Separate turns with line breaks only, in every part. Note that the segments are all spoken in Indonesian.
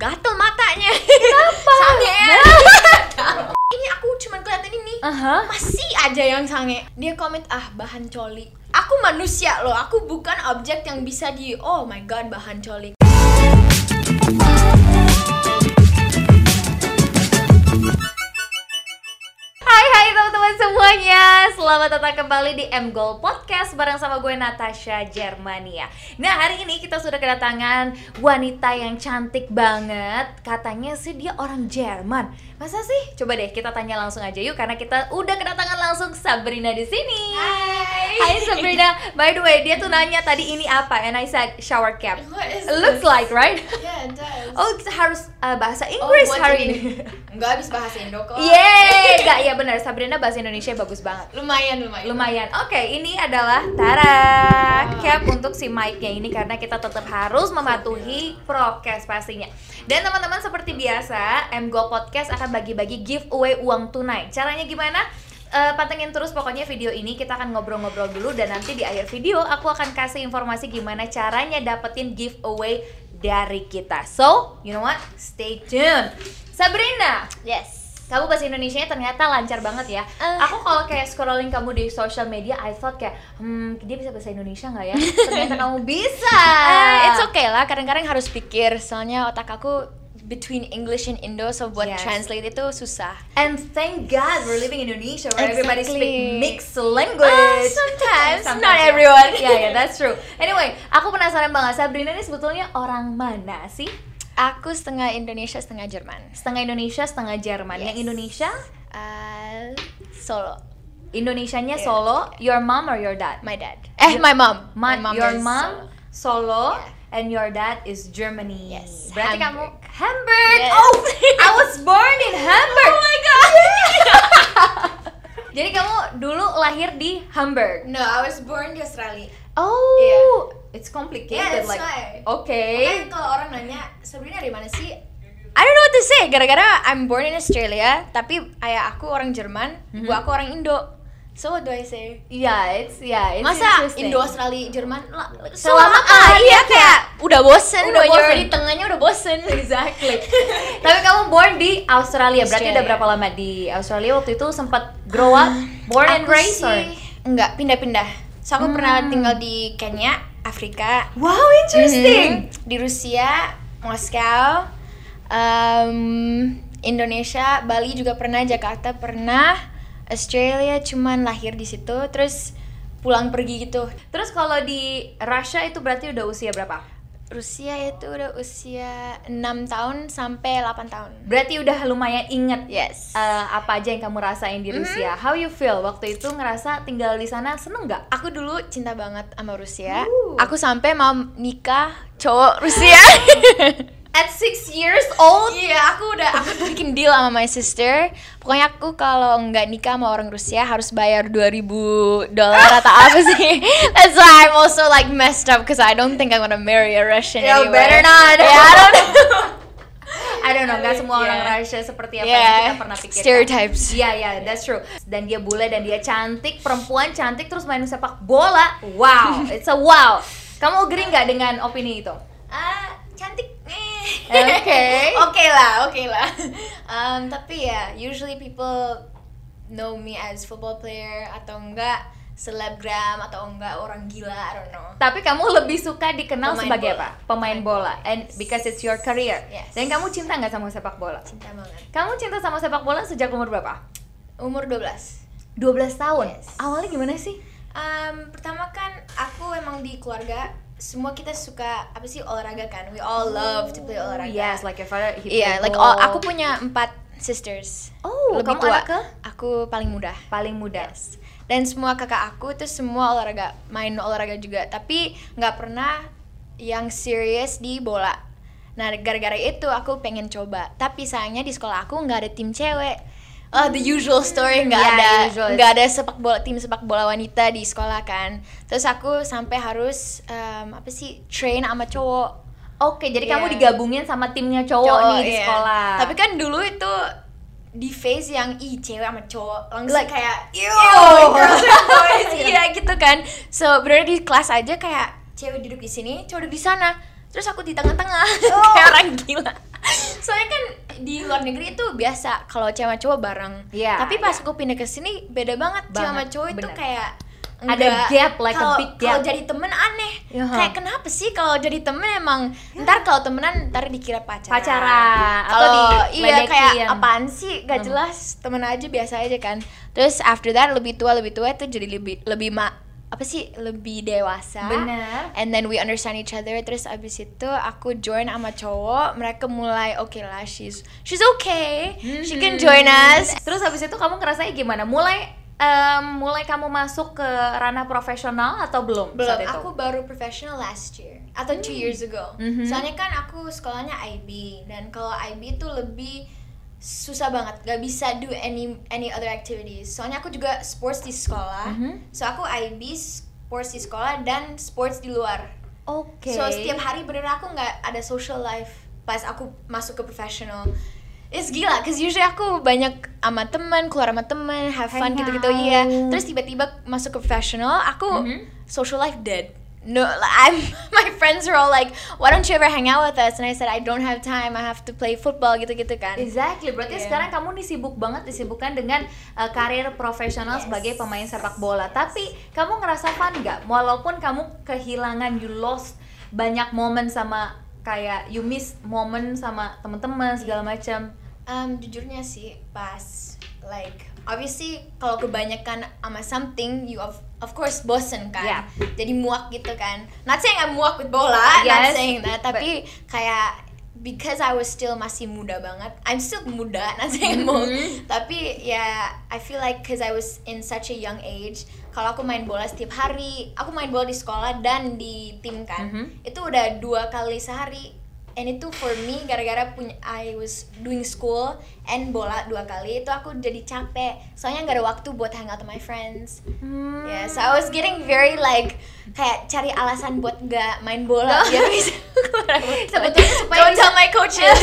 gatel matanya
Kenapa?
sange ini aku cuman kelihatan ini
Aha.
masih aja yang sange dia komen ah bahan coli aku manusia loh aku bukan objek yang bisa di oh my god bahan coli
Hai hai teman-teman semuanya Selamat datang kembali di M Goal Podcast Bareng sama gue Natasha Germania Nah hari ini kita sudah kedatangan wanita yang cantik banget Katanya sih dia orang Jerman Masa sih? Coba deh kita tanya langsung aja yuk Karena kita udah kedatangan langsung Sabrina di sini
Hai.
Hai Sabrina By the way dia tuh nanya tadi ini apa And I said shower cap
What is
Looks like right?
yeah it does
Oh kita harus uh, bahasa Inggris
what
hari
you
ini
mean? nggak habis bahasa Indo kok
Yeay, enggak ya benar Sabrina bahasa Indonesia bagus banget
lumayan lumayan
lumayan. Oke, ini adalah Tara cap untuk si mic-nya ini karena kita tetap harus mematuhi prokes pastinya. Dan teman-teman seperti biasa, MGO Podcast akan bagi-bagi giveaway uang tunai. Caranya gimana? Eh, pantengin terus pokoknya video ini kita akan ngobrol-ngobrol dulu dan nanti di akhir video aku akan kasih informasi gimana caranya dapetin giveaway dari kita. So, you know what? Stay tuned. Sabrina,
yes
kamu bahasa Indonesia ternyata lancar banget ya.
Eh.
Aku kalau kayak scrolling kamu di social media, I thought kayak, hmm, dia bisa bahasa Indonesia nggak ya? Ternyata kamu bisa.
Ah, it's okay lah, kadang-kadang harus pikir soalnya otak aku between English and Indo so buat
Yes.
translate itu susah.
And thank God we're living in Indonesia where everybody
Exactly.
speak mixed
Ah,
language.
sometimes, not everyone.
Ya ya, that's true. Anyway, aku penasaran banget Sabrina ini sebetulnya orang mana sih?
Aku setengah Indonesia, setengah Jerman.
Setengah Indonesia, setengah Jerman.
Yes.
Yang Indonesia,
Ah, Solo.
Indonesianya
Yeah.
Solo. Your mom or your dad?
My dad. Eh, my mom.
Ma- your
is
mom Solo,
Yeah.
and your dad is Germany.
Yes,
Berarti kamu
Hamburg.
Hamburg.
Yes.
Oh, I was born in Hamburg. Oh my god. Jadi kamu dulu lahir di Hamburg.
No, I was born di Australia.
Oh. It's complicated
Yeah, that's
like.
why.
Okay.
Kan kalau orang nanya, Sabrina dari mana sih?
I don't know what to say gara-gara I'm born in Australia, tapi ayah aku orang Jerman, ibu
Mhm.
aku orang Indo. So what do I say?
Yeah, it's yeah, it's
Masa
interesting.
Indo, Australia, Jerman? lah,
Selama
ah, iya
kalian
ya,
kayak-
kayak udah bosen,
Udah
when you're
bosen.
di tengahnya udah bosen.
Exactly. Tapi kamu born di Australia. Berarti udah
Australia.
berapa lama di Australia waktu itu sempat grow up, born and
Aku
raised? or-
sih enggak pindah-pindah. So aku pernah
Hmm.
tinggal di Kenya, Afrika,
Wow, interesting.
Mhm. Di Rusia, Moskow, em, Indonesia, Bali juga pernah, Jakarta pernah, Australia cuman lahir di situ, terus pulang pergi gitu.
Terus kalau di Russia itu berarti udah usia berapa?
Rusia itu udah usia 6 tahun sampai 8 tahun.
Berarti udah lumayan inget
Yes.
eh, apa aja yang kamu rasain
Mhm.
di Rusia. How you feel waktu itu ngerasa tinggal di sana seneng nggak?
Aku dulu cinta banget sama Rusia.
Uh.
Aku sampai mau nikah cowok Rusia.
At six years old,
Iya, aku udah aku bikin deal sama my sister. Pokoknya aku kalau nggak nikah sama orang Rusia harus bayar 2000 dolar atau apa sih. That's why I'm also like messed up because I don't think I'm gonna marry a Russian
Ya,
anyway.
You better not.
Yeah, I don't know.
I don't know, nggak semua
Yeah.
orang Rusia seperti
Iya,
apa
Yeah.
yang kita pernah pikirkan.
Stereotypes.
Iya, iya, that's true. Dan dia bule dan dia cantik, perempuan cantik terus main sepak bola. Wow, it's a wow. Kamu agree nggak dengan opini itu?
Ah, cantik. Eh.
Oke.
Oke lah, oke lah. Um, tapi ya, usually people know me as football player atau enggak selebgram atau enggak orang gila, I don't know.
Tapi kamu lebih suka dikenal
Pemain
sebagai
bola.
apa? Pemain bola. And because it's your career.
Yes.
Dan kamu cinta nggak sama sepak bola?
Cinta banget.
Kamu cinta sama sepak bola sejak umur berapa?
Umur 12.
12 tahun.
Yes.
Awalnya gimana sih?
Um, pertama kan aku emang di keluarga semua kita suka apa sih olahraga kan? We all love to play olahraga.
Oh,
Gitu.
Yes, like your father he
Iya,
played
like all,
ball.
aku punya empat sisters.
Oh,
lebih
kamu
tua.
anak ke
Aku paling muda.
paling muda.
Dan semua kakak aku itu semua olahraga, main olahraga juga. Tapi nggak pernah yang serius di bola. Nah, gara-gara itu aku pengen coba. Tapi sayangnya di sekolah aku nggak ada tim cewek. Oh, the usual story nggak
Yeah,
ada
usual.
nggak ada sepak bola tim sepak bola wanita di sekolah kan. Terus aku sampai harus em, apa sih train sama cowok.
Oke, jadi
Iya.
kamu digabungin sama timnya cowok, nih di
iya.
sekolah.
Tapi kan dulu itu di phase yang ih cewek sama cowok langsung
Like,
kayak ew,
ew.
girls and boys iya gitu kan. So bener di kelas aja
Oh.
kayak cewek duduk di sini, cowok duduk di sana. Terus aku di tengah-tengah kayak orang gila. kan luar negeri itu biasa kalau cewek sama cowok bareng.
Iya,
Tapi pas aku pindah ke sini beda banget, cewek sama
Banget,
cowok itu
bener.
kayak
Ada gap, like a
kalau-
big
Kalau
gap.
jadi temen aneh.
Iya.
Kayak kenapa sih kalau jadi temen emang ntar kalau temenan ntar dikira pacaran.
Pacaran, atau Hmm.
Kalau iya
diledekin.
kayak apaan sih? Gak jelas, temen aja biasa aja kan. Terus after that lebih tua lebih tua itu jadi lebih lebih ma apa sih lebih dewasa
Bener.
and then we understand each other terus abis itu aku join sama cowok mereka mulai oke lah she's she's okay she
Hmm.
can join us
Terus habis itu kamu ngerasanya gimana? Mulai em, mulai kamu masuk ke ranah profesional atau belum?
Belum,
saat itu?
aku baru professional last year atau two years ago
Mhm.
soalnya kan aku sekolahnya IB dan kalau IB itu lebih susah banget gak bisa do any any other activities soalnya aku juga sports di sekolah
Mhm.
so aku IB sports di sekolah dan sports di luar
Oke.
so setiap hari bener aku nggak ada social life pas aku masuk ke professional
it's gila cause usually aku banyak sama teman keluar sama teman have fun
Hangout.
gitu gitu iya terus tiba-tiba masuk ke professional aku
Mhm.
social life dead no like, I'm my friends are all like why don't you ever hang out with us and I said I don't have time I have to play football gitu gitu kan
Exactly, berarti
Iya.
sekarang kamu disibuk banget disibukkan dengan uh, karir profesional sebagai pemain sepak bola. Tapi kamu ngerasa fun nggak? Walaupun kamu kehilangan, you lost banyak momen sama kayak you miss momen sama temen-temen
Iya.
segala macam.
Um, jujurnya sih pas like obviously kalau kebanyakan sama something you of of course bosen kan.
Yeah.
Jadi muak gitu kan. Not saying I'm muak with bola, not
Yes,
saying that,
but-
tapi kayak because I was still masih muda banget. I'm still muda, not saying I'm old.
Mm-hmm.
Tapi ya I feel like cause I was in such a young age. Kalau aku main bola setiap hari, aku main bola di sekolah dan di tim kan.
Mhm.
Itu udah dua kali sehari. And itu for me gara-gara punya I was doing school and bola dua kali itu aku jadi capek. Soalnya nggak ada waktu buat hangout with my friends.
Hmm.
Yeah,
Iya,
so I was getting very like kayak cari alasan buat nggak main bola biar bisa keluar.
Sebetulnya supaya
Don't tell my coaches.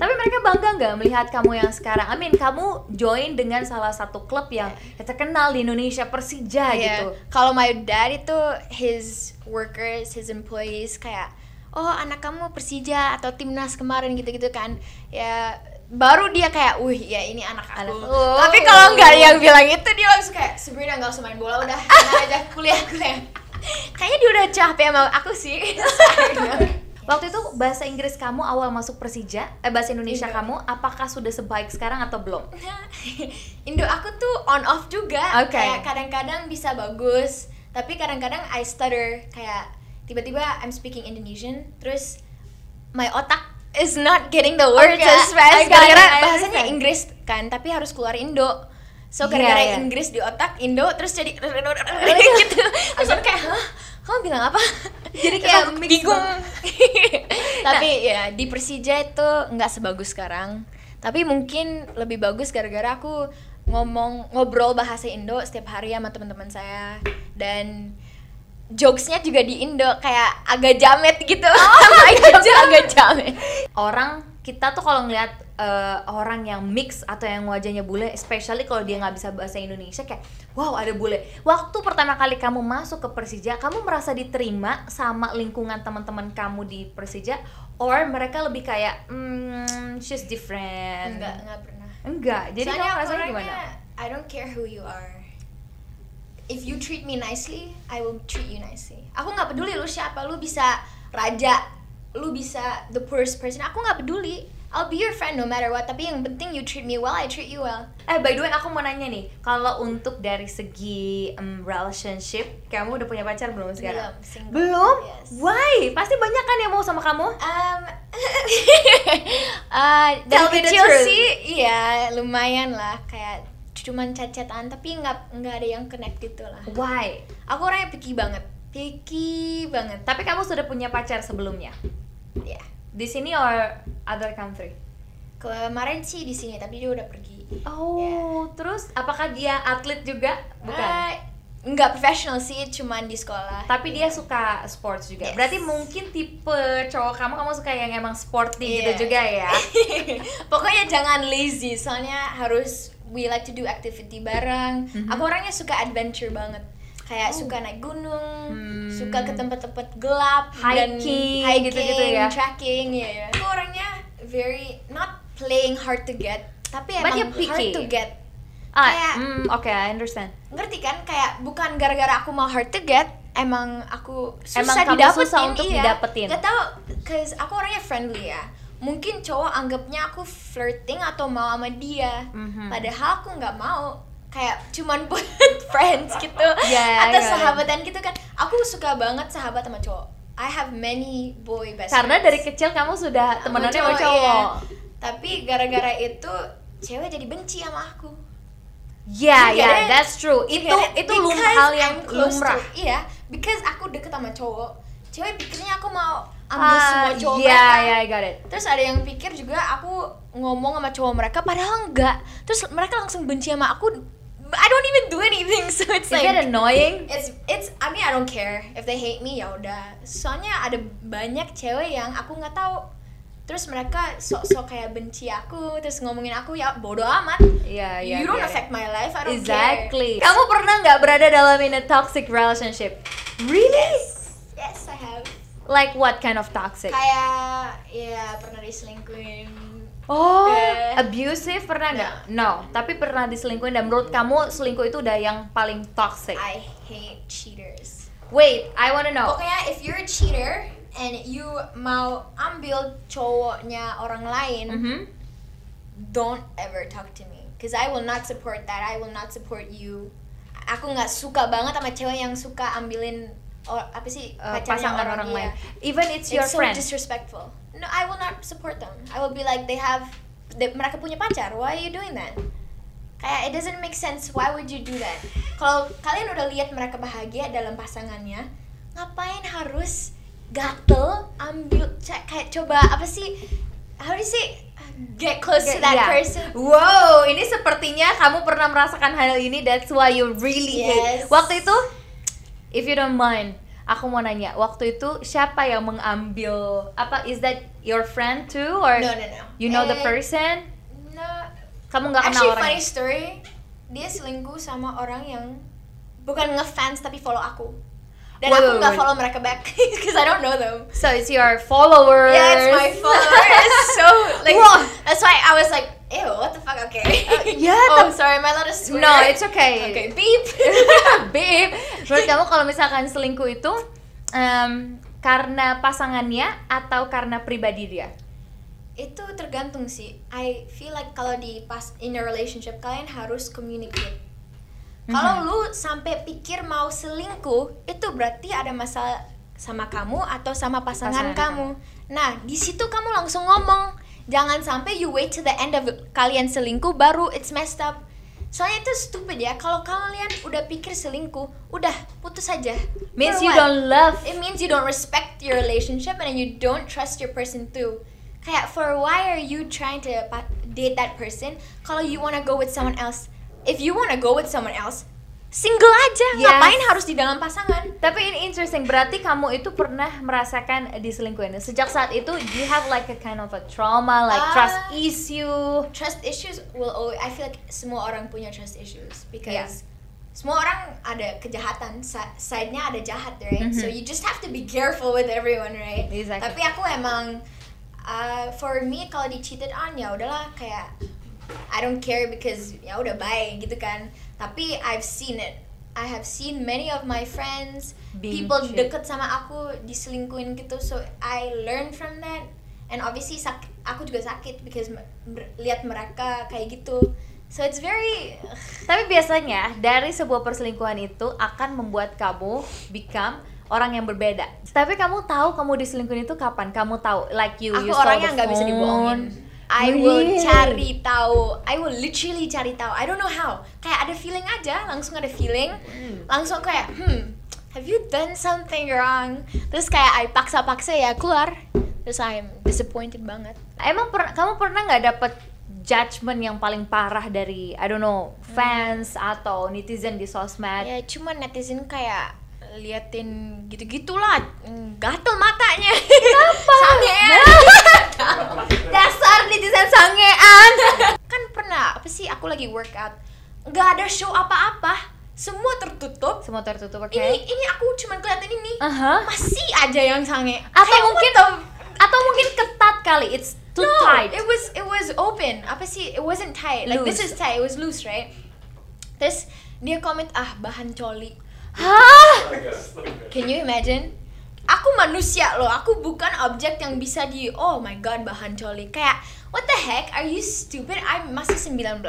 Tapi mereka bangga nggak melihat kamu yang sekarang? I mean, kamu join dengan salah satu klub yang terkenal di Indonesia Persija
Iya.
gitu.
Kalau my dad itu his workers, his employees kayak oh anak kamu Persija atau timnas kemarin gitu-gitu kan. Ya baru dia kayak wih ya ini anak
Anak.
aku.
Oh.
Tapi kalau nggak ada yang bilang itu dia langsung
kayak
kayak
Sabrina nggak usah main bola udah enak aja kuliah kuliah.
kayaknya dia udah capek sama aku sih.
Waktu itu bahasa Inggris kamu awal masuk Persija, eh bahasa Indonesia
Iya.
kamu apakah sudah sebaik sekarang atau belum?
Indo aku tuh on off juga
Oke.
kayak kadang-kadang bisa bagus tapi kadang-kadang I stutter kayak tiba-tiba I'm speaking Indonesian terus my otak
Is not getting the words
Oke, I
as fast
got it,
gara-gara
I
bahasanya
understand.
Inggris kan, tapi harus keluar Indo. So
Iya,
gara-gara
iya.
Inggris di otak Indo terus jadi gitu. Terus aku kayak, "Hah? Kamu bilang apa?"
Jadi
Terus
kayak
aku
mix
bingung.
banget.
Nah.
Tapi ya di Persija itu nggak sebagus sekarang. Tapi mungkin lebih bagus gara-gara aku ngomong ngobrol bahasa Indo setiap hari sama teman-teman saya dan jokesnya juga di Indo kayak agak jamet gitu.
Oh,
My jokes agak jamet.
Orang kita tuh kalau ngelihat eh, orang yang mix atau yang wajahnya bule, especially kalau dia nggak bisa bahasa Indonesia kayak wow ada bule. Waktu pertama kali kamu masuk ke Persija, kamu merasa diterima sama lingkungan teman-teman kamu di Persija, or mereka lebih kayak hmm she's different?
enggak enggak pernah
Enggak. Jadi
Soalnya
kamu
aku
rasanya
orangnya,
gimana?
I don't care who you are if you treat me nicely I will treat you nicely aku nggak peduli lu siapa lu bisa raja lu bisa the poorest person aku nggak peduli I'll be your friend no matter what tapi yang penting you treat me well I treat you well
Eh by the way aku mau nanya nih, kalau untuk dari segi em, relationship, kamu udah punya pacar belum sekarang?
Belum, single.
Belum?
Yes.
Why? Pasti banyak kan yang mau sama kamu?
Um,
Eh, dari
Tell me the
kecil
truth.
sih
iya lumayan lah kayak cuman cacetan tapi nggak nggak ada yang connect gitu lah.
Why?
Aku orangnya picky banget, picky banget.
Tapi kamu sudah punya pacar sebelumnya?
Ya
Di sini or other country?
kemarin sih di sini tapi dia udah pergi.
Oh, terus apakah dia atlet juga?
Ah.
Bukan.
Eh, nggak profesional sih, cuman di sekolah.
Tapi dia suka sports juga.
Yes.
Berarti mungkin tipe cowok kamu kamu suka yang emang sporty
Iya.
gitu juga ya.
Eh,
Pokoknya jangan lazy, soalnya harus we like to do activity bareng.
Mhm.
Aku orangnya suka adventure banget. Kayak suka naik gunung,
Oh. Hmm.
suka ke tempat-tempat gelap
Hiking,
dan hiking,
gitu-gitu ya.
trekking ya ya. Aku orangnya very not
playing hard to get tapi emang
But you're picky.
hard to get
Ah,
Kayak-
hmm, oke, I understand.
ngerti kan kayak bukan gara-gara aku mau hard to get emang aku susah
Emang kamu
didapetin
susah untuk
iya.
didapetin.
gak tau cause aku orangnya friendly ya mungkin cowok anggapnya aku flirting atau mau sama dia
Mhm.
padahal aku nggak mau kayak cuman buat friends gitu
Ya,
atau
ya.
sahabatan gitu kan aku suka banget sahabat sama cowok I have many boy best
Karena
friends.
dari kecil kamu sudah temenannya sama cowok.
iya. tapi gara-gara itu cewek jadi benci sama aku iya.
Ya,
You
ya,
get it?
that's true.
You
Itu
get it?
itu
Iya,
lum-
Because
hal yang
I'm close to-
lumrah.
iya because aku deket sama cowok cewek pikirnya aku mau ambil
Ah,
semua cowok
ya,
mereka
ya, I got it.
terus ada yang pikir juga aku ngomong sama cowok mereka padahal enggak terus mereka langsung benci sama aku I don't even do anything so it's
Is that
like
annoying?
it's it's I mean I don't care if they hate me ya udah soalnya ada banyak cewek yang aku nggak tahu terus mereka sok-sok kayak benci aku terus ngomongin aku ya bodoh amat
Ya,
you
ya.
don't
got it.
affect my life I don't care
Exactly. Kamu pernah nggak berada dalam in a toxic relationship? Really?
yes I have
Like what kind of toxic?
kayak ya pernah diselingkuhin
Oh,
Eh.
abusive pernah nggak? No. tapi pernah diselingkuhin dan menurut kamu selingkuh itu udah yang paling toxic.
I hate cheaters
Wait, I wanna know.
pokoknya if you're a cheater and you mau ambil cowoknya orang lain
Mhm.
don't ever talk to me cause I will not support that I will not support you aku nggak suka banget sama cewek yang suka ambilin or, apa sih
Uh,
pacarnya
pasangan orang,
iya.
lain. Even it's your
it's
friend.
so disrespectful no I will not support them I will be like they have they- mereka punya pacar why are you doing that kayak it doesn't make sense why would you do that kalau kalian udah lihat mereka bahagia dalam pasangannya ngapain harus gatel ambil cek kayak coba apa sih how do you say get close to
Kayak-
that
iya.
person
Wow, ini sepertinya kamu pernah merasakan hal ini. That's why you really hate.
Yes.
Waktu itu, if you don't mind, aku mau nanya. Waktu itu siapa yang mengambil apa? Is that your friend too, or
no no no
you know the
Eh,
person?
no
Kamu nggak kenal
Actually
orang?
funny story, dia selingkuh sama orang yang bukan ngefans tapi follow aku. Dan
Wait,
aku
wait,
nggak
wait.
follow mereka back because I don't know them.
So it's your followers.
Yeah, it's my followers. so like
Whoa. Uh,
that's why I was like, ew, what the fuck? Okay.
yeah,
oh,
tapi-
sorry, am I allowed to swear?
No, it's okay.
okay. Beep.
Babe, menurut kamu kalau misalkan selingkuh itu em, karena pasangannya atau karena pribadi dia?
itu tergantung sih. I feel like kalau di pas in a relationship kalian harus communicate.
Mhm.
Kalau lu sampai pikir mau selingkuh, itu berarti ada masalah sama kamu atau sama pasangan,
Pasangan
kamu. Nah, di situ kamu langsung ngomong. Jangan sampai you wait to the end of kalian selingkuh baru it's messed up. Soalnya itu stupid ya. Kalau kalian udah pikir selingkuh, udah putus aja.
Means
For
you
what?
don't love.
It means you don't respect your relationship and you don't trust your person too. Kayak for why are you trying to pa- date that person kalau you wanna go with someone else? If you wanna go with someone else, single aja.
Yes.
Ngapain harus di dalam pasangan?
Tapi ini interesting, berarti kamu itu pernah merasakan diselingkuhin. Sejak saat itu, you have like a kind of a trauma, like
Ah.
trust issue.
Trust issues will always. I feel like semua orang punya trust issues because
Yeah.
semua orang ada kejahatan, sa- side-nya ada jahat, right?
Mhm.
So you just have to be careful with everyone, right?
Exactly.
Tapi aku emang uh, for me kalau di cheated on ya udahlah kayak I don't care because ya udah bye gitu kan. Tapi I've seen it. I have seen many of my friends
Being
people
cheat.
deket sama aku diselingkuhin gitu. So I learn from that and obviously sak aku juga sakit because me- mer- lihat mereka kayak gitu. So it's very
Tapi biasanya dari sebuah perselingkuhan itu akan membuat kamu become orang yang berbeda. Tapi kamu tahu kamu diselingkuhin itu kapan? Kamu tahu like you
aku
you saw
orangnya
the
nggak bisa
phone.
dibohongin I will
Really?
cari tahu I will literally cari tahu I don't know how kayak ada feeling aja langsung ada feeling langsung kayak hmm have you done something wrong terus kayak I paksa-paksa ya keluar terus I'm disappointed banget
Emang per- kamu pernah nggak dapet judgement yang paling parah dari I don't know fans atau netizen di sosmed?
ya cuman netizen kayak liatin gitu-gitulah Mm, gatel matanya kenapa
Dasar netizen sangean.
kan pernah apa sih aku lagi workout nggak ada show apa-apa semua tertutup
Semua tertutup, oke? Uh-huh.
ini ini aku cuman kelihatan ini
Aha.
masih aja yang sange
Atau
Kayak,
mungkin
what the-
atau mungkin ketat kali. It's Too
no,
tight.
It was it was open. Apa sih? It wasn't tight. Like this
Loose.
is tight. It was loose, right? Terus dia komen ah bahan coli.
Hah?
Can you imagine? Aku manusia loh. Aku bukan objek yang bisa di oh my god bahan coli. Kayak what the heck? Are you stupid? I'm masih 19. Aku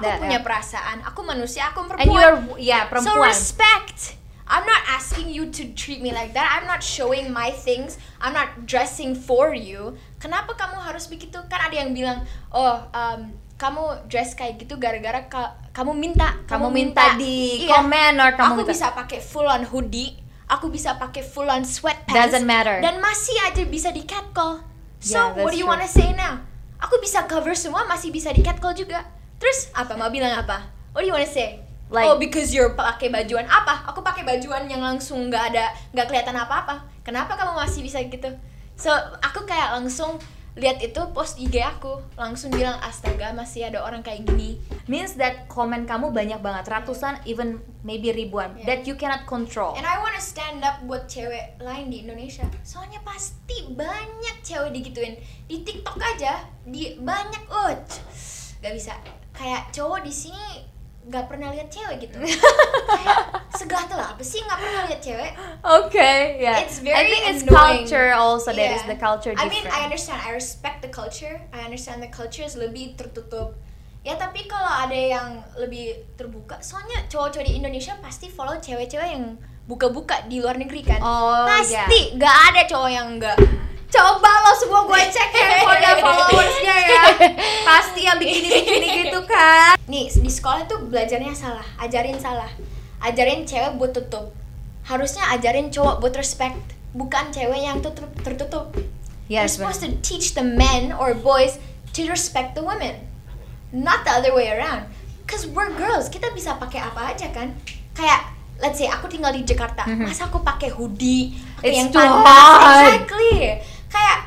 That,
punya
yeah.
perasaan. Aku manusia. Aku perempuan.
And you're ya
So
perempuan.
respect. I'm not asking you to treat me like that. I'm not showing my things. I'm not dressing for you. Kenapa kamu harus begitu? Kan ada yang bilang, oh um, kamu dress kayak gitu gara-gara ka- kamu minta. Iya.
kamu minta di komen or
Aku
kamu minta-
bisa pakai full on hoodie. Aku bisa pakai full on sweatpants.
Doesn't matter.
Dan masih aja bisa di catcall. So
Yeah,
what do
that's
you
true.
wanna say now? Aku bisa cover semua, masih bisa di catcall juga. Terus apa mau bilang apa? What do you wanna say?
Like-
oh because you're pakai bajuan apa? Aku pakai bajuan yang langsung nggak ada nggak kelihatan apa-apa. Kenapa kamu masih bisa gitu? So aku kayak langsung lihat itu post IG aku langsung bilang astaga masih ada orang kayak gini.
means that komen kamu banyak banget ratusan even maybe ribuan
Yeah.
that you cannot control.
And I wanna stand up buat cewek lain di Indonesia. Soalnya pasti banyak cewek digituin di TikTok aja, di banyak oh, c- gak bisa. Kayak cowok di sini gak pernah lihat ceweh gitu. Kayak segatel apa sih gak pernah lihat cewek?
Okay, yeah.
It's very
I think it's
annoying.
culture also that is
Yeah.
the culture
I mean,
different.
I understand. I respect the culture. I understand the culture is lebih tertutup. Ya tapi kalau ada yang lebih terbuka, soalnya cowok-cowok di Indonesia pasti follow cewek-cewek yang buka-buka di luar negeri kan.
Oh,
pasti nggak ada cowok yang enggak. Coba lo semua gue cek ya,
Pada
handphone
followersnya ya Pasti yang bikini-bikini gitu kan
Nih di sekolah tuh belajarnya salah, ajarin salah, ajarin cewek buat tutup. Harusnya ajarin cowok buat respect, bukan cewek yang tutup tertutup. You're
Yes,
supposed to teach the men or boys to respect the women, not the other way around. Cause we're girls, kita bisa pakai apa aja kan? Kayak let's say aku tinggal di Jakarta,
Mhm.
masa aku pakai hoodie,
It's
pakai yang
too
pantas?
hot.
Exactly. Kayak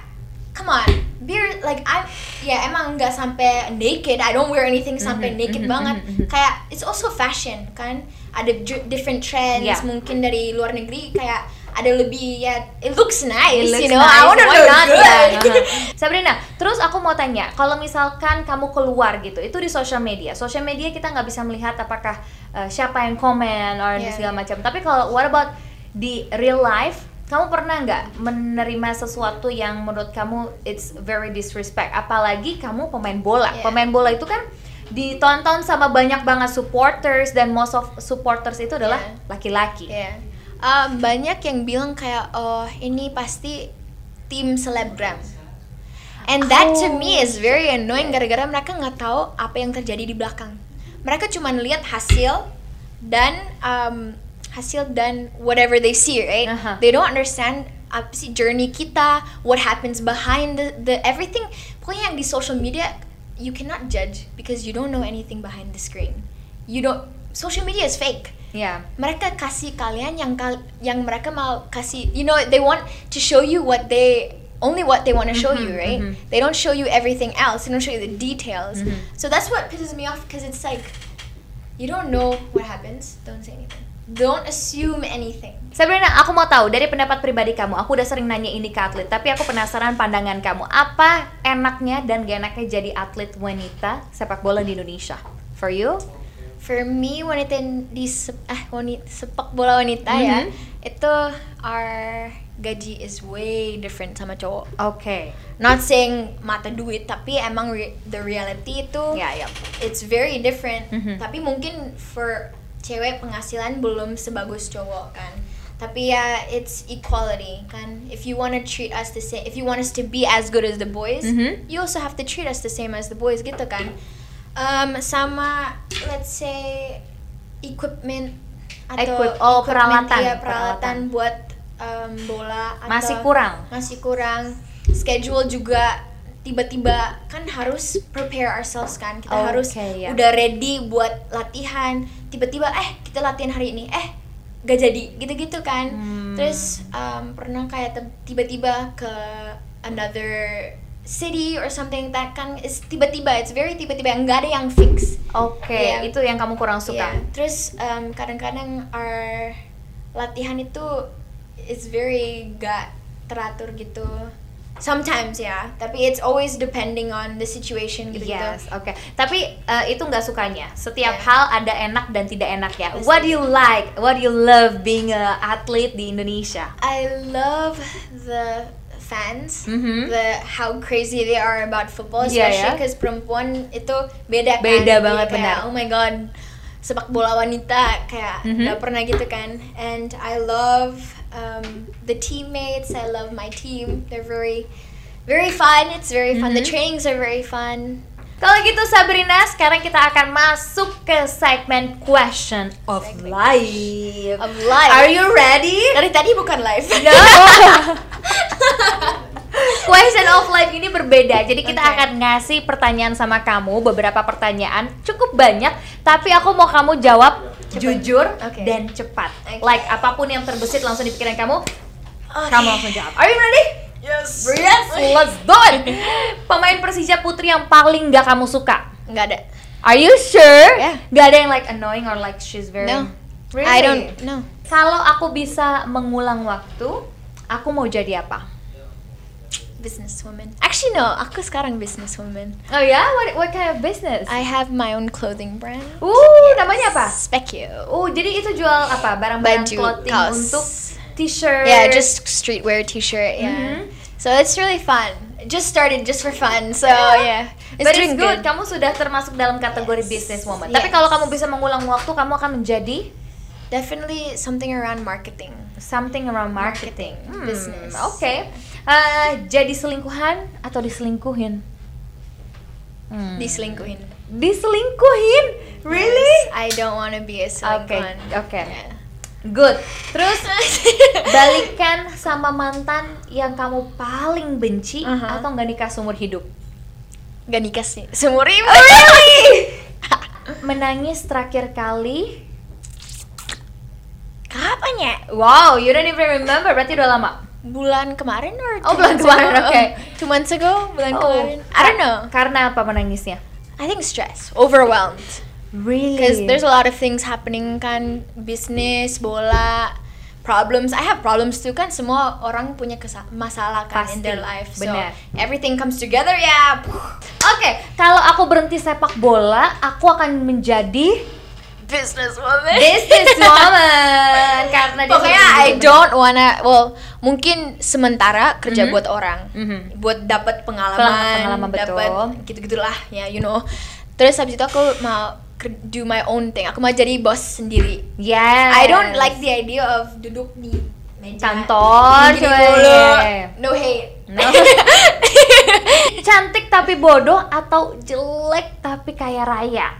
come on, beer like I'm ya emang nggak sampai naked. I don't wear anything sampai
Mhm,
naked
mhm,
banget.
mhm, mhm.
Kayak it's also fashion kan? Ada dr- different trends
Yeah.
mungkin dari luar negeri kayak ada lebih ya it looks nice,
It looks
you know.
nice.
I wanna
Why
look
not,
good.
kan? Uh-huh. Sabrina, terus aku mau tanya, kalau misalkan kamu keluar gitu, itu di social media. Social media kita nggak bisa melihat apakah uh, siapa yang komen or
Yeah.
segala macam. Tapi kalau what about di real life? Kamu pernah nggak menerima sesuatu yang menurut kamu it's very disrespect? Apalagi kamu pemain bola.
Yeah.
Pemain bola itu kan ditonton sama banyak banget supporters dan most of supporters itu adalah
Yeah.
laki-laki.
Iya. Um, banyak yang bilang kayak oh ini pasti tim selebgram. And that to me is very annoying gara-gara mereka nggak tahu apa yang terjadi di belakang. Mereka cuma lihat hasil dan um, hasil dan whatever they see, right?
Aha.
They don't understand apa sih journey kita, what happens behind the, the everything. Pokoknya yang di social media you cannot judge because you don't know anything behind the screen. You don't social media is fake
Yeah.
mereka kasih kalian yang kal- yang mereka mau kasih you know they want to show you what they only what they want to show you
Mhm,
right
mhm.
they don't show you everything else they don't show you the details
Mhm.
so that's what pisses me off because it's like you don't know what happens don't say anything don't assume anything
Sabrina, aku mau tahu dari pendapat pribadi kamu. Aku udah sering nanya ini ke atlet, tapi aku penasaran pandangan kamu. Apa enaknya dan gak enaknya jadi atlet wanita sepak bola di Indonesia? For you?
for me wanita yang di sep- ah, wanita, sepak bola wanita ya
Mhm.
itu our gaji is way different sama cowok
Oke.
not saying mata duit tapi emang re- the reality itu
Ya, ya.
it's very different
Mhm.
tapi mungkin for cewek penghasilan belum sebagus cowok kan tapi ya it's equality kan if you wanna treat us the same if you want us to be as good as the boys
Mhm.
you also have to treat us the same as the boys gitu kan Um, sama let's say equipment atau
Equip- oh, peralatan,
iya, peralatan,
peralatan.
buat um, bola atau
Masih kurang.
masih kurang schedule juga tiba-tiba kan harus prepare ourselves kan kita
Oke,
harus
ya.
udah ready buat latihan tiba-tiba eh kita latihan hari ini eh gak jadi gitu-gitu kan
Hmm.
terus um, pernah kayak te- tiba-tiba ke another city or something that kan is tiba-tiba it's very tiba-tiba nggak ada yang fix
Oke,
Iya.
itu yang kamu kurang suka.
Iya, Terus um, kadang-kadang our latihan itu is very gak teratur gitu. Sometimes ya, tapi it's always depending on the situation gitu.
Yes, oke. Tapi eh, itu nggak sukanya. Setiap
Yeah.
hal ada enak dan tidak enak ya. What do you like? What do you love being a athlete di Indonesia?
I love the fans,
Mhm.
the how crazy they are about football,
Iya,
especially
ya.
because perempuan itu beda kan.
Beda
Dia
banget,
kayak,
benar.
Oh my god, sepak bola wanita kayak
Mhm.
nggak pernah gitu kan. And I love um, the teammates. I love my team. They're very very fun. It's very fun. The
Mhm.
trainings are very fun.
Kalau gitu Sabrina, sekarang kita akan masuk ke segmen question of life.
Of life.
Are you ready?
Dari tadi bukan live.
No. Question of life ini berbeda. Jadi kita
Oke.
akan ngasih pertanyaan sama kamu, beberapa pertanyaan cukup banyak, tapi aku mau kamu jawab jujur
Oke.
dan cepat.
Oke.
Like apapun yang terbesit langsung di pikiran kamu,
Oke.
kamu langsung jawab. Are you ready?
Yes.
Yes, let's do it. Pemain Persija Putri yang paling gak kamu suka.
Nggak ada.
Are you sure?
Yeah.
Gak ada yang like annoying or like she's very
No.
Really?
I don't know.
Kalau aku bisa mengulang waktu, aku mau jadi apa?
Businesswoman. Actually no, aku sekarang businesswoman.
Oh ya, what what kind of business?
I have my own clothing brand.
Uh, namanya apa?
Specu.
Oh, jadi itu jual apa? Barang-barang
Baju,
clothing
kaos.
untuk t-shirt.
Yeah, just streetwear t-shirt. Yeah.
Mhm.
So it's really fun. It just started just for fun. So
Yeah.
yeah, it's
But
doing
it's
good.
good. Kamu sudah termasuk dalam kategori
Yes.
business
Yes.
woman. Tapi kalau kamu bisa mengulang waktu, kamu akan menjadi
Definitely something around marketing.
something around marketing,
Marketing,
Hmm,
business.
Oke. Eh, jadi selingkuhan atau diselingkuhin? Hmm.
Diselingkuhin.
diselingkuhin? Really?
Yes, I don't want to be a selingkuhan.
Oke, oke.
Yeah.
Good. Terus balikan sama mantan yang kamu paling benci
Uh-huh.
atau nggak nikah seumur hidup?
Gak nikah sih. Seumur hidup.
Oh, Really? Menangis terakhir kali?
Kapan ya?
Wow, you don't even remember. Berarti udah lama.
Bulan kemarin or
Oh,
two
bulan
months
kemarin,
ago?
okay.
Two months ago, bulan kemarin. I don't know.
Karena apa menangisnya?
I think stress, overwhelmed.
Really?
Because there's a lot of things happening kan, business, bola, problems. I have problems too kan. Semua orang punya kesa- masalah kan in their
Pasti,
life. So
benar.
everything comes together ya.
Oke, kalau aku berhenti sepak bola, aku akan menjadi
Business woman.
business woman karena dia gitu.
Pokoknya I don't wanna. Well, mungkin sementara kerja
Mhm.
buat orang,
Mhm.
buat dapat
Pengalaman,
pengalaman,
pengalaman, betul.
dapat gitu-gitulah ya, you know. Terus habis itu aku mau ker- do my own thing. Aku mau jadi bos sendiri.
Yes.
I don't like the idea of duduk di meja
Kantor,
gini-gini
cuy.
mulu.
Yeah.
No hate.
No. Cantik tapi bodoh atau jelek tapi kaya raya?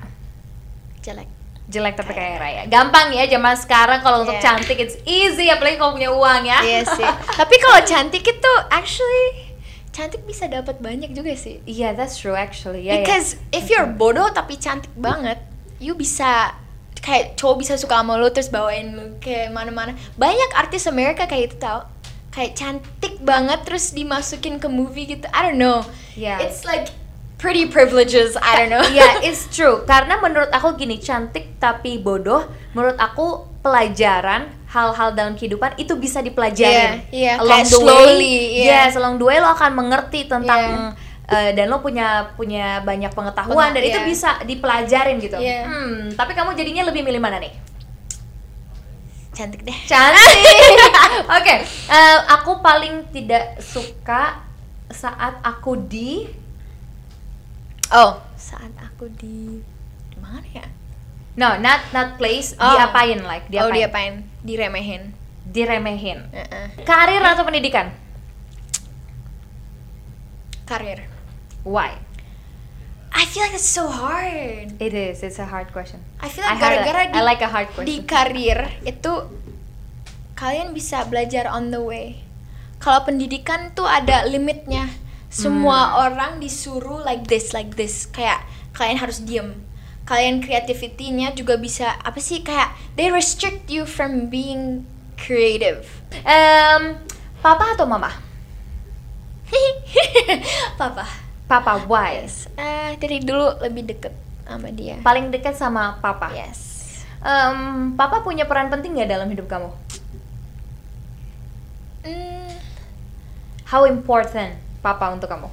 Jelek.
Jelek tapi kaya raya. Gampang ya zaman sekarang kalau untuk
Yeah.
cantik it's easy apalagi kalau punya uang ya.
Iya sih. Tapi kalau cantik itu actually cantik bisa dapat banyak juga sih.
Iya, that's true actually. Ya, ya.
Because if you're bodoh tapi cantik banget, you bisa kayak cowok bisa suka sama lu terus bawain lu ke mana-mana. Banyak artis Amerika kayak itu tau kayak cantik banget terus dimasukin ke movie gitu. I don't know.
Yeah.
It's like pretty privileges. I don't know.
Iya, it's true. Karena menurut aku gini, cantik tapi bodoh, menurut aku pelajaran hal-hal dalam kehidupan itu bisa
Iya,
dipelajarin.
iya,
Along
kayak
the
slowly, iya.
way. Yes, along the way lo akan mengerti tentang eh, dan lo punya punya banyak pengetahuan
Pengetahuan,
dan itu
iya.
bisa dipelajarin gitu.
Iya.
Hmm, tapi kamu jadinya lebih milih mana nih?
Cantik deh.
Cantik. Oke, eh, aku paling tidak suka saat aku di
Oh, saat aku di di mana ya?
no, not not place,
Oh.
diapain like,
Oh,
diapain?
diapain? Diremehin.
diremehin.
Heeh.
Karir atau pendidikan?
Karir.
Why?
I feel like it's so hard.
It is. It's a hard question.
I feel like gara-gara di,
I like a hard
di
question.
karir itu kalian bisa belajar on the way. Kalau pendidikan tuh ada limitnya. Semua
Hmm.
orang disuruh like this, like this. Kayak kalian harus diem. Kalian kreativitinya juga bisa apa sih kayak they restrict you from being creative.
Em, Um, papa atau mama?
Papa.
Papa why?
Eh, dari dulu lebih deket sama dia.
Paling dekat sama papa.
Yes.
Em, papa punya peran penting nggak dalam hidup kamu?
Mm, Hmm,
How important? papa untuk kamu?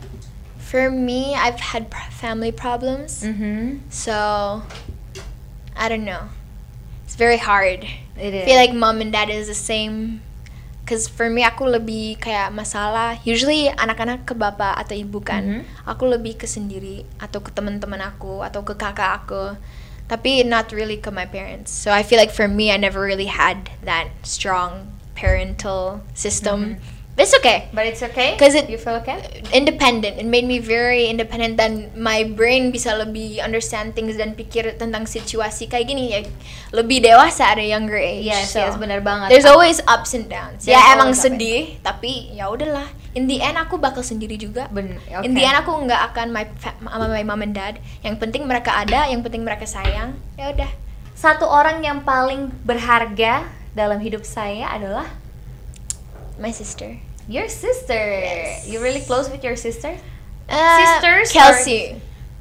For me, I've had pr- family problems, so I don't know. It's very hard.
It
I
is.
feel like mom and dad is the same. Cause for me aku lebih kayak masalah. Usually anak-anak ke bapak atau ibu kan.
Mhm.
Aku lebih ke sendiri atau ke teman-teman aku atau ke kakak aku. Tapi not really ke my parents. So I feel like for me I never really had that strong parental system.
Mm-hmm.
But it's okay.
But it's okay.
'Cause it-
you feel okay.
Independent. It made me very independent dan my brain bisa lebih understand things dan pikir tentang situasi kayak gini ya lebih dewasa at a younger age.
Yes,
So-
yes, benar banget.
There's always ups and downs.
There's
ya emang
always up and-
sedih, tapi ya udahlah. In the end aku bakal sendiri juga.
Ben-
In
okay.
the end aku nggak akan my fa- sama my mom and dad. Yang penting mereka ada, yang penting mereka sayang. Ya udah.
Satu orang yang paling berharga dalam hidup saya adalah
My sister.
your sister.
Yes.
You really close with your sister?
Uh,
Sisters or-
Kelsey.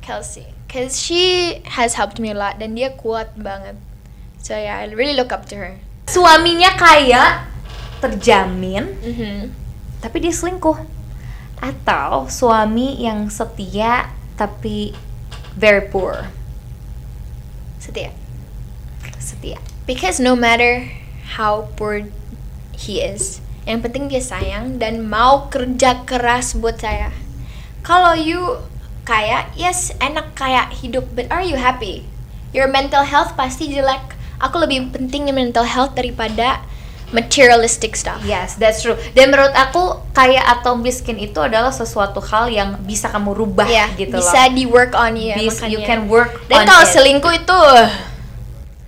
Kelsey. Cause she has helped me a lot dan dia kuat banget. So yeah, I really look up to her.
Suaminya kaya, terjamin,
Mhm.
tapi dia selingkuh. Atau suami yang setia tapi very poor.
Setia.
Setia.
Because no matter how poor he is, yang penting dia sayang dan mau kerja keras buat saya. Kalau you kaya, yes enak kaya hidup, but are you happy? Your mental health pasti jelek. Aku lebih pentingin mental health daripada materialistic stuff.
Yes, that's true. Dan menurut aku kaya atau miskin itu adalah sesuatu hal yang bisa kamu rubah
Iya,
gitu
bisa
loh.
di work on ya.
Bis- you
makanya.
can work
Dan
on
kalau
it.
selingkuh itu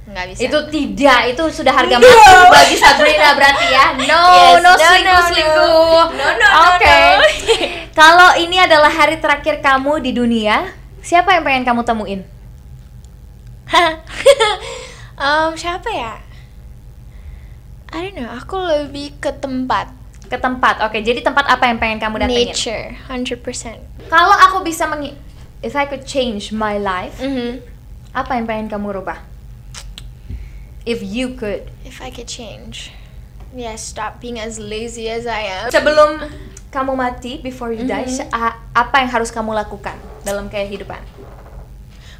nggak bisa.
Itu tidak, itu sudah harga
No.
mati bagi Sabrina berarti ya. No,
Yes, no,
no, selingkuh,
no, no.
selingkuh.
No, no, no,
Oke.
no.
Kalau ini adalah hari terakhir kamu di dunia, siapa yang pengen kamu temuin?
Em, siapa ya? I don't know. Aku lebih ke tempat.
Ke tempat. Oke, jadi tempat apa yang pengen kamu datengin?
Nature, 100%.
Kalau aku bisa mengi If I could change my life,
Mhm.
apa yang pengen kamu rubah? If you could
If I could change. Yeah, stop being as lazy as I am.
sebelum kamu mati before you die
Mm-hmm.
sya- a- apa yang harus kamu lakukan dalam kehidupan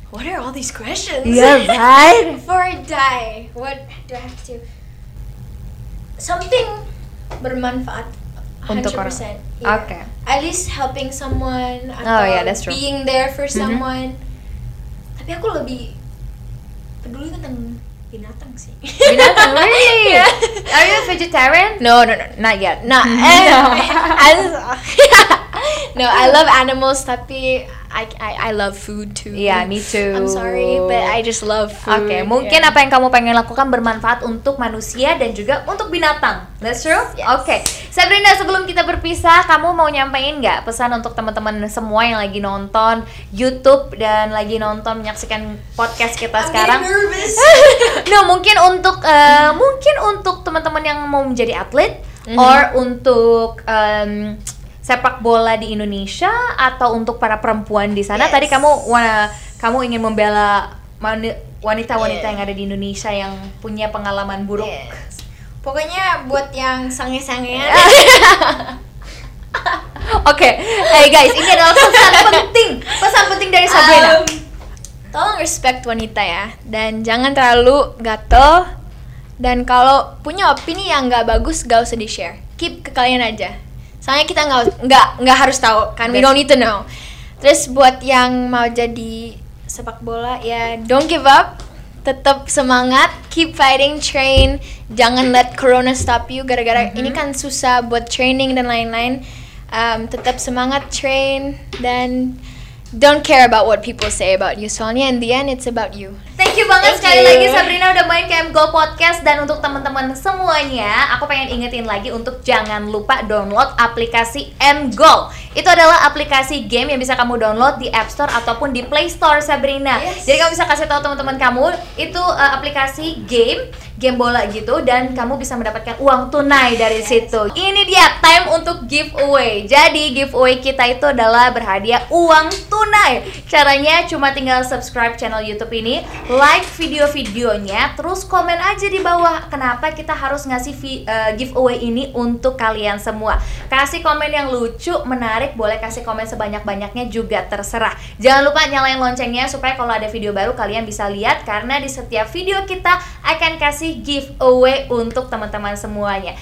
What are all these questions?
right
Before I die, what do I have to do? Something bermanfaat. 100%.
Untuk orang.
yeah.
Oke.
At least helping someone
Oh,
atau
yeah, that's true.
being there for
Mhm.
someone. Tapi aku lebih peduli tentang binatang sih.
binatang really are you a Nah, vegetarian
No, no, no.
not yet
No, eh, as- no, I love animals tapi I, I I love food too.
Yeah, me too.
I'm sorry, but I just love food.
Oke, mungkin
yeah.
apa yang kamu pengen lakukan bermanfaat untuk manusia dan juga untuk binatang. That's true?
Yes.
Oke. Sabrina, sebelum kita berpisah, kamu mau nyampein nggak pesan untuk teman-teman semua yang lagi nonton YouTube dan lagi nonton menyaksikan podcast kita sekarang?
nervous.
no mungkin untuk eh, mungkin untuk teman-teman yang mau menjadi atlet
Mhm.
or untuk em, sepak bola di Indonesia atau untuk para perempuan di sana
Yes.
tadi kamu wanna- kamu ingin membela mani- wanita-wanita
Yeah.
yang ada di Indonesia yang punya pengalaman buruk
Yes. Pokoknya buat yang sange-sangean
oke hey guys ini adalah pesan penting pesan penting dari Sabrina
Um, tolong respect wanita ya dan jangan terlalu gatel dan kalau punya opini yang nggak bagus gak usah di share keep ke kalian aja soalnya kita nggak nggak nggak harus tahu kan we
That's-
don't need to know terus buat yang mau jadi sepak bola ya don't give up tetap semangat keep fighting train jangan let corona stop you gara-gara ini kan susah buat training dan lain-lain Um, tetap semangat train dan don't care about what people say about you soalnya in the end it's about you
Thank you
Thank
banget sekali
you.
lagi Sabrina udah main ke MGO Podcast dan untuk teman-teman semuanya, aku pengen ingetin lagi untuk jangan lupa download aplikasi MGO. Itu adalah aplikasi game yang bisa kamu download di App Store ataupun di Play Store Sabrina.
Yes.
Jadi kamu bisa kasih tahu teman-teman kamu itu eh, aplikasi game game bola gitu dan kamu bisa mendapatkan uang tunai dari situ. Ini dia time untuk giveaway. Jadi giveaway kita itu adalah berhadiah uang tunai. Caranya cuma tinggal subscribe channel YouTube ini, like video-videonya, terus komen aja di bawah kenapa kita harus ngasih vi- eh, giveaway ini untuk kalian semua. Kasih komen yang lucu, menarik, boleh kasih komen sebanyak-banyaknya juga terserah. Jangan lupa nyalain loncengnya supaya kalau ada video baru kalian bisa lihat karena di setiap video kita akan kasih giveaway untuk teman-teman semuanya.